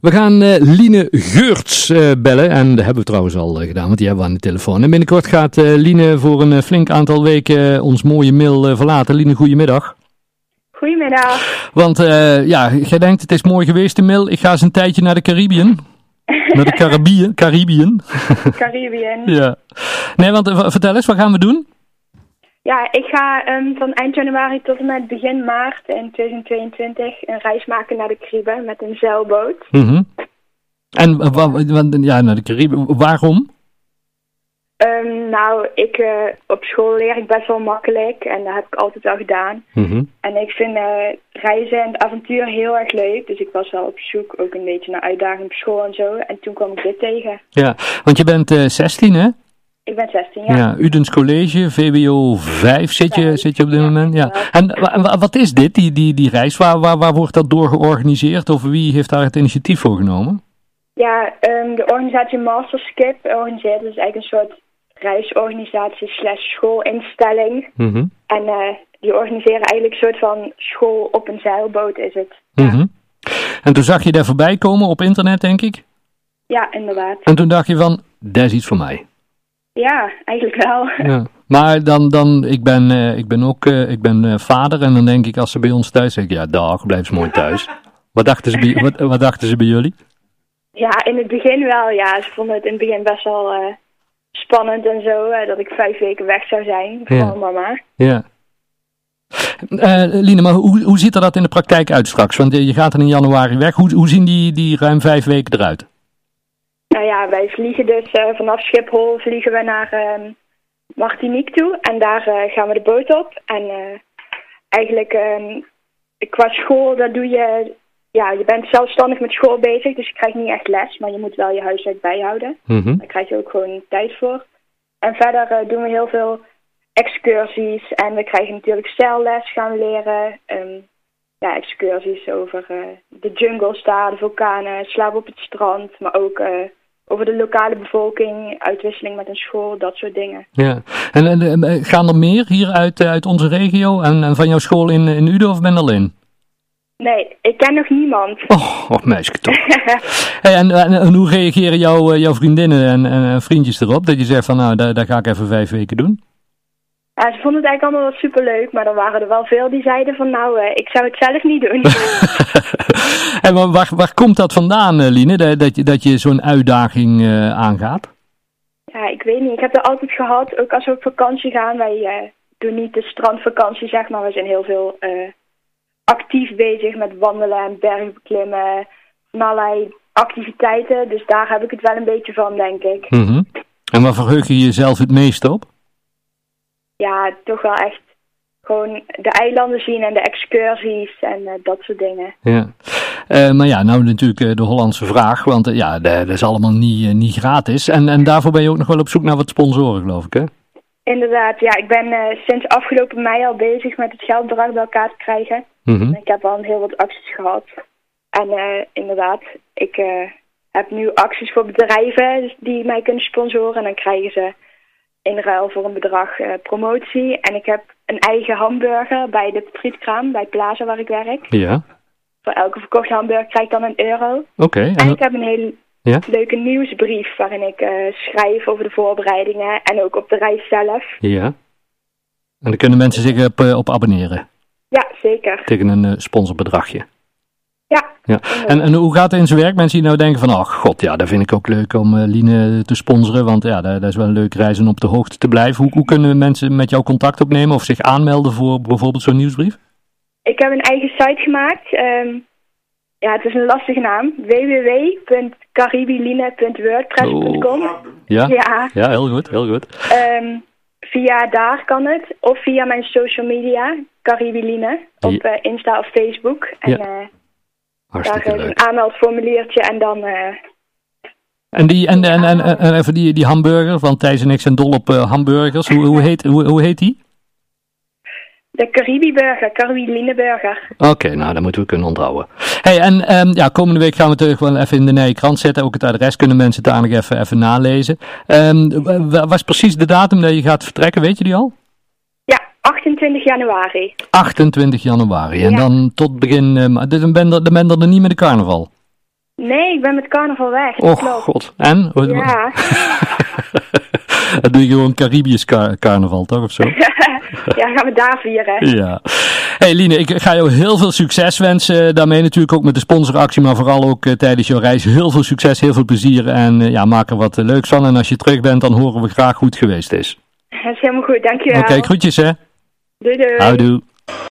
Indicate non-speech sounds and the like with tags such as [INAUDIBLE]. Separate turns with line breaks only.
We gaan eh, Liene Geurts eh, bellen. En dat hebben we trouwens al eh, gedaan, want die hebben we aan de telefoon. En binnenkort gaat eh, Liene voor een eh, flink aantal weken eh, ons mooie mail eh, verlaten. Liene, goedemiddag.
Goedemiddag.
Want eh, ja, jij denkt het is mooi geweest de mail. Ik ga eens een tijdje naar de Caribbean. Naar de Caribbean. Caribbean.
Caribbean.
Ja. Nee, want eh, vertel eens, wat gaan we doen?
Ja, ik ga ehm, van eind januari tot en met begin maart in 2022 een reis maken naar de Cariben met een zeilboot.
Mhm. En eh, wa- want, ja, naar de Caribbean. Waarom?
Ehm, nou, ik, eh, op school leer ik best wel makkelijk en dat heb ik altijd al gedaan. En ik vind eh, reizen en het avontuur heel erg leuk. Dus ik was wel op zoek ook een beetje naar uitdaging op school en zo. En toen kwam ik dit tegen.
Ja, want je bent eh 16 hè?
Ik ben 16
Ja.
jaar.
Udens College, VWO 5 zit je,
Vijf,
zit je op dit
ja,
moment. Ja.
ja.
En wa- wa- wat is dit, die, die, die reis? Waar, waar, waar wordt dat door georganiseerd? Of wie heeft daar het initiatief voor genomen?
Ja, ehm, de organisatie Masterskip organiseert dus eigenlijk een soort reisorganisatie slash schoolinstelling. En eh, die organiseren eigenlijk een soort van school op een zeilboot is het.
Mhm. En toen zag je daar voorbij komen op internet, denk ik.
Ja, inderdaad.
En toen dacht je van, dat is iets voor mij.
Ja, eigenlijk wel. [LAUGHS]
Ja. Maar dan, dan ik, ben, eh, ik ben ook eh, ik ben, eh, vader en dan denk ik als ze bij ons thuis zeggen, ja dag, blijf ze mooi thuis. Wat dachten ze bij, wat, wat dachten ze bij jullie?
Ja, in het begin wel. Ja, ze vonden het in het begin best wel eh, spannend en zo. eh, dat ik vijf weken weg zou zijn. Vooral mama.
Ja. Eh Line, maar hoe, hoe ziet er dat in de praktijk uit straks? Want eh, je gaat er in januari weg. Hoe, hoe zien die, die ruim vijf weken eruit?
Nou ja, wij vliegen dus eh, vanaf Schiphol vliegen we naar ehm, Martinique toe. En daar eh, gaan we de boot op. En eh, eigenlijk ehm, qua school, dat doe je... Ja, je bent zelfstandig met school bezig, dus je krijgt niet echt les. Maar je moet wel je huiswerk bijhouden.
Mhm.
Daar krijg je ook gewoon tijd voor. En verder eh, doen we heel veel excursies. En we krijgen natuurlijk zeilles gaan leren. ehm, ja, excursies over eh, de jungles daar, de vulkanen, slapen op het strand. Maar ook eh, over de lokale bevolking, uitwisseling met een school, dat soort dingen.
Ja. En, en, en, eh, gaan er meer hier uit, eh, uit onze regio en, en van jouw school in, in Uden of ben je alleen?
Nee, ik ken nog niemand.
Oh, oh meisje toch. [LAUGHS] Hey, en, en, en hoe reageren jouw, eh, jouw vriendinnen en, en, en vriendjes erop? Dat je zegt van nou, daar, daar ga ik even vijf weken doen. [LAUGHS]
ja, ze vonden het eigenlijk allemaal wel superleuk, maar er waren er wel veel die zeiden van nou, eh, ik zou het zelf niet doen.
en wa- waar, waar komt dat vandaan, eh, Line, dat, dat je, dat je zo'n uitdaging eh, aangaat?
Ja, ik weet niet. Ik heb dat altijd gehad. Ook als we op vakantie gaan. Wij eh, doen niet de strandvakantie, zeg maar. We zijn heel veel eh, actief bezig met wandelen en bergbeklimmen. Van allerlei activiteiten. Dus daar heb ik het wel een beetje van, denk ik.
Mhm. En waar verheug je jezelf het meest op?
Ja, toch wel echt gewoon de eilanden zien en de excursies en eh, dat soort dingen.
Ja. Eh, maar ja, nou natuurlijk eh, de Hollandse vraag, want eh, ja, de- dat is allemaal niet, eh, niet gratis. En, en daarvoor ben je ook nog wel op zoek naar wat sponsoren, geloof ik, hè?
Inderdaad, ja. Ik ben eh, sinds afgelopen mei al bezig met het geldbedrag bij elkaar te krijgen.
Mhm. Hm?
Ik heb al heel wat acties gehad. En eh, inderdaad, ik eh, heb nu acties voor bedrijven die mij kunnen sponsoren. En dan krijgen ze in ruil voor een bedrag eh, promotie. En ik heb een eigen hamburger bij de frietkraam, bij Plaza waar ik werk.
Ja, oké.
Voor elke verkochte hamburger krijg ik dan een euro. En
En,
ik heb een hele
Ja?
leuke nieuwsbrief waarin ik eh, schrijf over de voorbereidingen. En ook op de reis zelf.
ja. En dan kunnen mensen zich op, eh, op abonneren
Ja, zeker.
tegen een eh, sponsorbedragje.
Ja,
Ja. En, en hoe gaat het in zijn werk? Mensen die nou denken van, ach god, ja, dat vind ik ook leuk om eh, Line te sponsoren, want ja, dat, dat is wel een leuk reis om op de hoogte te blijven. Hoe, hoe kunnen mensen met jou contact opnemen of zich aanmelden voor bijvoorbeeld zo'n nieuwsbrief?
Ik heb een eigen site gemaakt. ehm, ja, het is een lastige naam. www.caribiline.wordpress.com
Oh. Ja?
Ja,
Ja, heel goed, heel goed.
ehm, via daar kan het. Of via mijn social media, Caribiline. Op
Ja.
eh, Insta of Facebook. En
Ja,
eh, daar
Hartstikke
is
leuk.
een aanmeldformuliertje en dan... eh,
En, die, en, en, en, en even die, die hamburger, want Thijs en ik zijn dol op eh, hamburgers. Hoe, hoe, heet, hoe, hoe heet die?
de Caribiburger, Caribineburger.
Oké, nou, dat moeten we kunnen onthouden. hey, en ehm, ja, komende week gaan we het eh, gewoon even in de Nije Krant zetten. Ook het adres kunnen mensen dadelijk even, even nalezen. Ehm, wa- wa- wat is precies de datum dat je gaat vertrekken, weet je die al?
Ja, 28 januari.
28 januari. En
Ja.
dan tot begin, ehm, dus dan ben je er- dan ben je er niet met de carnaval.
Nee, ik ben met carnaval weg. dat
Och,
klopt.
god. En? Wat-
Ja,
Dan doe je gewoon Caribisch car- carnaval, toch? Of zo?
ja, gaan we daar vieren.
Ja. Hey Line, ik ga jou heel veel succes wensen. Daarmee natuurlijk ook met de sponsoractie, maar vooral ook eh, tijdens jouw reis. Heel veel succes, heel veel plezier en eh, ja, maak er wat eh, leuks van. En als je terug bent, dan horen we graag hoe het geweest is. Nou,
Dat is helemaal goed, dankjewel.
Oké, groetjes hè.
Doei doei.
Houdoe.